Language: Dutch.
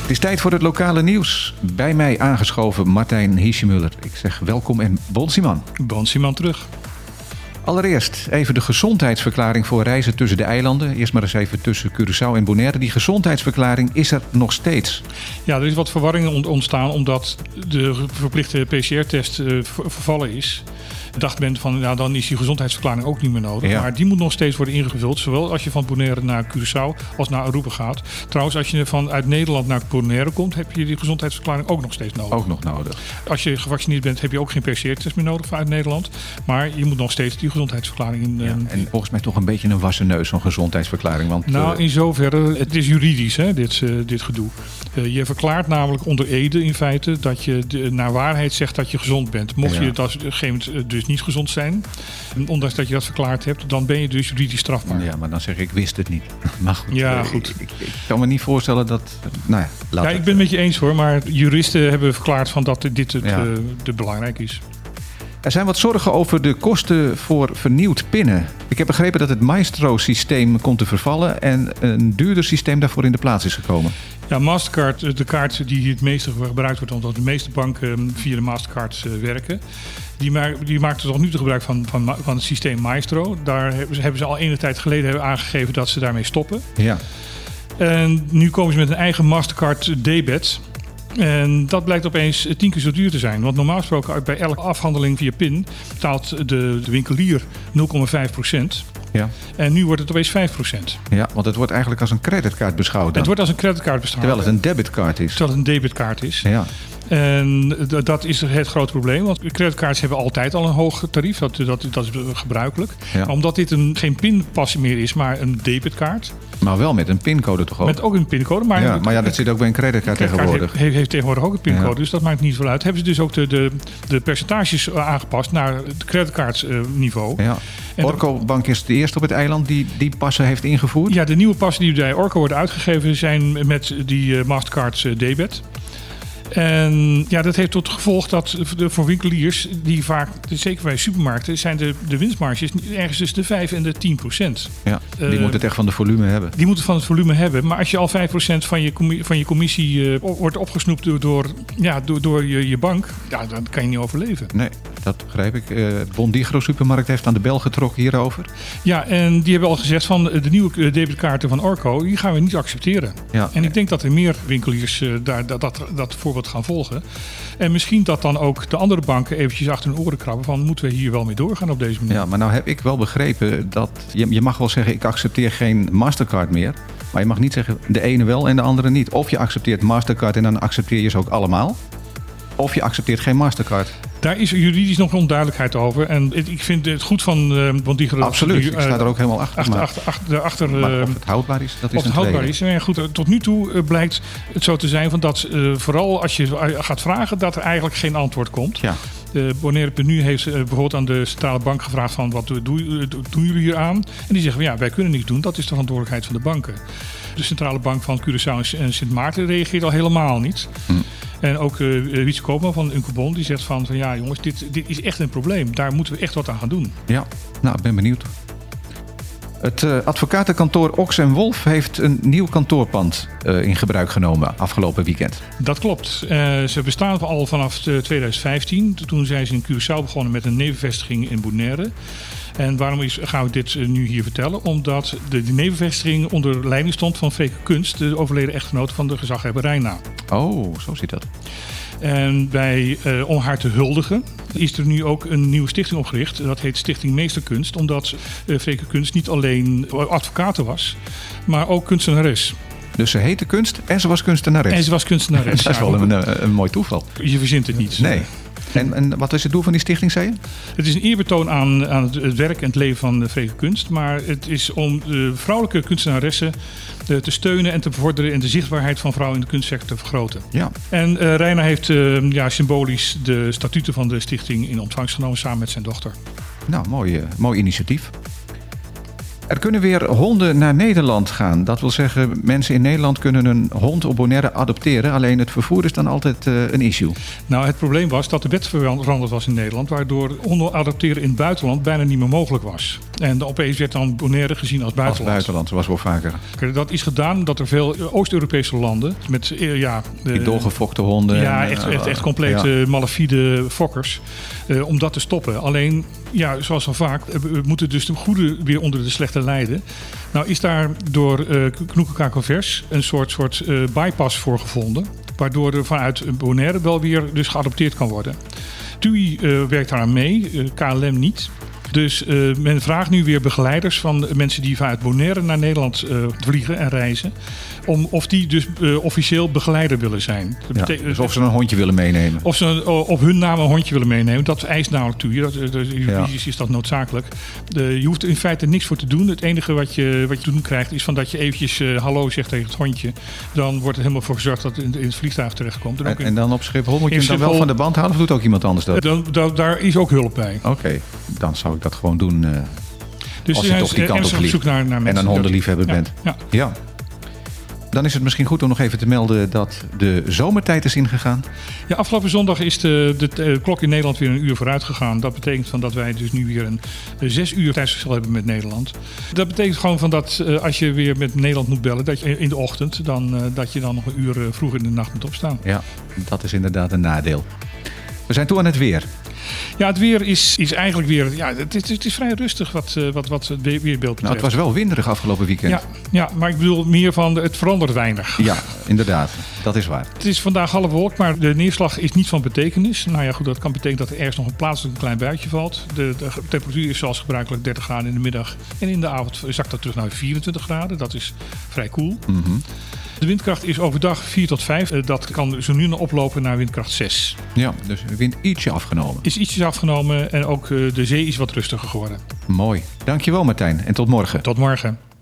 Het is tijd voor het lokale nieuws. Bij mij aangeschoven Martijn Hiesjemuller. Ik zeg welkom en bon Simon. Bon Simon terug. Allereerst even de gezondheidsverklaring voor reizen tussen de eilanden. Eerst maar eens even tussen Curaçao en Bonaire. Die gezondheidsverklaring is er nog steeds. Ja, er is wat verwarring ont- ontstaan omdat de verplichte PCR-test eh, ver- vervallen is. Dacht men van, nou dan is die gezondheidsverklaring ook niet meer nodig. Ja. Maar die moet nog steeds worden ingevuld. Zowel als je van Bonaire naar Curaçao als naar Aruba gaat. Trouwens, als je vanuit Nederland naar Bonaire komt, heb je die gezondheidsverklaring ook nog steeds nodig. Ook nog nodig. Als je gevaccineerd bent, heb je ook geen PCR-test meer nodig vanuit Nederland. Maar je moet nog steeds die gezondheidsverklaring in, eh, En volgens mij toch een beetje een wassen neus, zo'n gezondheidsverklaring. Want Nou, eh, in zoverre, het is juridisch, hè, dit, eh, dit gedoe. Eh, je verklaart namelijk onder ede in feite dat je de, naar waarheid zegt dat je gezond bent. Mocht Ja. je dat op een gegeven moment eh, dus niet gezond zijn, en ondanks dat je dat verklaard hebt, dan ben je dus juridisch strafbaar. eh, ja, maar dan zeg ik, ik wist het niet. Maar goed, Ja, eh, goed. Ik, ik- ik kan me niet voorstellen dat... Nou ja, laat Ja, het. ik ben het met je eens hoor, maar juristen hebben verklaard van dat dit het, Ja. eh, de belangrijk is. Er zijn wat zorgen over de kosten voor vernieuwd pinnen. Ik heb begrepen dat het Maestro-systeem komt te vervallen en een duurder systeem daarvoor in de plaats is gekomen. Ja, Mastercard, eh, de kaart die hier het meeste gebruikt wordt, omdat de meeste banken eh, via de Mastercard eh, werken. Die, ma die maakt tot nu toe gebruik van, van, ma- van het systeem Maestro. Daar hebben ze- hebben ze al enige tijd geleden hebben aangegeven dat ze daarmee stoppen. Ja. En nu komen ze met een eigen Mastercard debit. En dat blijkt opeens eh, tien keer zo duur te zijn. Want normaal gesproken bij elke afhandeling via PIN betaalt de, de winkelier 0,5%. Ja. En nu wordt het opeens 5%. ja, want het wordt eigenlijk als een creditkaart beschouwd. dan, Het wordt als een creditcard bestaan. terwijl het een debitkaart is. terwijl het een debitkaart is. Ja. En d- dat is het grote probleem. Want creditcards hebben altijd al een hoog tarief. Dat, dat, dat is gebruikelijk. Ja. Maar omdat dit een, geen pinpas meer is, maar een debitkaart. Maar wel met een pincode toch ook? Met ook een pincode. Maar Oh. ja, maar ja, dat zit ook bij een de creditkaart creditcard tegenwoordig. Heeft, heeft, heeft tegenwoordig ook een pincode. Ja. Dus dat maakt niet veel uit. Hebben ze dus ook de, de, de percentages eh, aangepast naar het creditkaardsniveau. Ja. En Orco Bank is de eerste op het eiland die die passen heeft ingevoerd. Ja, de nieuwe passen die bij Orco worden uitgegeven zijn met die eh, Mastercard eh, debit. En ja, dat heeft tot gevolg dat de- voor winkeliers, die vaak, zeker bij supermarkten, zijn de, de winstmarges ergens tussen de 5 en de 10 procent. Ja, die Eh, moet het echt van de volume hebben. Die moeten van het volume hebben. Maar als je al 5% van je, commi- van je commissie eh, o- wordt opgesnoept door, door, ja, door, door je, je bank, ja, dan kan je niet overleven. Nee, dat begrijp ik. Eh Bondigro Supermarkt heeft aan de bel getrokken hierover. Ja, en die hebben al gezegd van eh, de nieuwe eh, debitkaarten van Orco, die gaan we niet accepteren. Ja. En ik denk dat er meer winkeliers eh, daar, dat, dat, dat voorbeeld gaan volgen. En misschien dat dan ook de andere banken eventjes achter hun oren krabben van moeten we hier wel mee doorgaan op deze manier. Ja, maar nou heb ik wel begrepen dat je, je mag wel zeggen ik accepteer geen Mastercard meer. Maar je mag niet zeggen de ene wel en de andere niet. Of je accepteert Mastercard en dan accepteer je ze ook allemaal. Of je accepteert geen Mastercard. Daar is juridisch nog onduidelijkheid over. En het- ik vind het goed van eh want die Absoluut, ik sta er ook helemaal achter. eh, achter, maar, achter, achter, achter maar eh, of het houdbaar is, dat is of het een tweede. houdbaar is. Nou ja, goed, eh, tot nu toe eh, blijkt het zo te zijn van dat eh, vooral als je eh, gaat vragen dat er eigenlijk geen antwoord komt. Ja, Eh, Bonaire.nu heeft eh, bijvoorbeeld aan de centrale bank gevraagd van wat doe- doe- doen jullie hier aan? En die zeggen ja, wij kunnen niks doen, dat is de verantwoordelijkheid van de banken. De centrale bank van Curaçao en S- en Sint Maarten reageert al helemaal niet. En ook eh Wietse Koopman van Uncobon die zegt van, van ja jongens, dit, dit is echt een probleem. Daar moeten we echt wat aan gaan doen. ja, nou ik ben benieuwd. Het eh, advocatenkantoor Ox en Wolf heeft een nieuw kantoorpand eh, in gebruik genomen afgelopen weekend. Dat klopt. Eh, ze bestaan al vanaf eh, 2015. Toen zijn ze in Curaçao begonnen met een nevenvestiging in Bonaire. En waarom is, gaan we dit eh, nu hier vertellen? Omdat de, die nevenvestiging onder leiding stond van Feke Kunst, de overleden echtgenoot van de gezaghebber Reina. Oh, zo zit dat. En bij, eh, om haar te huldigen is er nu ook een nieuwe stichting opgericht. Dat heet Stichting Meesterkunst, omdat eh Feke Kunst niet alleen advocaat was, maar ook kunstenares. Dus ze heette kunst en ze was kunstenares. En ze was kunstenares. Dat is wel een, eh, een mooi toeval. Je verzint het niet. Nee. En, en wat is het doel van die stichting, zei je? Het is een eerbetoon aan, aan het, het werk en het leven van de Vrede Kunst. Maar het is om de vrouwelijke kunstenaressen eh, te steunen en te bevorderen. en de zichtbaarheid van vrouwen in de kunstsector te vergroten. Ja. En eh Reina heeft eh, ja, symbolisch de statuten van de stichting in ontvangst genomen samen met zijn dochter. Nou, mooi, eh, mooi initiatief. Er kunnen weer honden naar Nederland gaan. Dat wil zeggen, mensen in Nederland kunnen een hond op Bonaire adopteren. Alleen het vervoer is dan altijd eh, een issue. Nou, het probleem was dat de wet veranderd was in Nederland, waardoor honden adopteren in het buitenland bijna niet meer mogelijk was. En opeens werd dan Bonaire gezien als Als buitenland. buitenland, zoals wel vaker. Dat is gedaan omdat er veel Oost-Europese landen met eh, ja, Die eh, doorgefokte honden. Ja, en, echt, eh, echt, echt compleet ja. eh, malafide fokkers. eh, om dat te stoppen. Alleen, ja, zoals al vaak, eh, we moeten dus de goede weer onder de slechte leiden. Nou is daar door eh Knoekenkakel Vers een soort, soort eh, bypass voor gevonden. Waardoor er vanuit Bonaire wel weer dus geadopteerd kan worden. TUI eh, werkt daaraan mee, eh, KLM niet. Dus eh, men vraagt nu weer begeleiders van mensen die vanuit Bonaire naar Nederland eh, vliegen en reizen. Om, of die dus eh, officieel begeleider willen zijn. Dat Ja, betekent- dus of ze een hondje willen meenemen. of ze een- op hun naam een hondje willen meenemen. Dat eist namelijk toe. Dat, eh, dat, juridisch is dat noodzakelijk. De, je hoeft er in feite niks voor te doen. Het enige wat je, wat je te doen krijgt is van dat je eventjes eh, hallo zegt tegen het hondje. Dan wordt er helemaal voor gezorgd dat het in, in het vliegtuig terechtkomt. En ook En, in- en dan op Schiphol moet je in hem dan wel Schiphol- van de band halen of doet ook iemand anders dat? dan, dan- daar is ook hulp bij. Oké, dan zou ik dat gewoon doen. eh, Dus Als er je zijn toch die kant op ernstig vliegt zoek naar, naar mensen. en een die dat- hondenliefhebber Ja, bent. ja. Ja. Dan is het misschien goed om nog even te melden dat de zomertijd is ingegaan. Ja, afgelopen zondag is de, de, eh, klok in Nederland weer een uur vooruit gegaan. Dat betekent van dat wij dus nu weer een eh, zes uur tijdsverschil hebben met Nederland. Dat betekent gewoon van dat eh, als je weer met Nederland moet bellen, dat je in de ochtend, dan, eh, dat je dan nog een uur eh, vroeger in de nacht moet opstaan. Ja, dat is inderdaad een nadeel. We zijn toe aan het weer. Nou, Ja, het weer is, is eigenlijk weer, ja, het is, het is vrij rustig wat, eh, wat, wat het we- weerbeeld Nou, betreft. het was wel winderig afgelopen weekend. ja, ja, maar ik bedoel meer van het verandert weinig. Ja, inderdaad. Dat is waar. Het is vandaag half wolk, maar de neerslag is niet van betekenis. Nou ja, goed, dat kan betekenen dat er ergens nog een plaatselijk een klein buitje valt. De, de temperatuur is zoals gebruikelijk 30 graden in de middag. En in de avond zakt dat terug naar 24 graden. Dat is vrij koel. De windkracht is overdag 4 tot 5. Eh, Dat kan zo nu nog oplopen naar windkracht 6. Ja, dus de wind ietsje afgenomen. Is ietsjes afgenomen en ook eh, de zee is wat rustiger geworden. Mooi. Dankjewel Martijn en tot morgen. Tot morgen.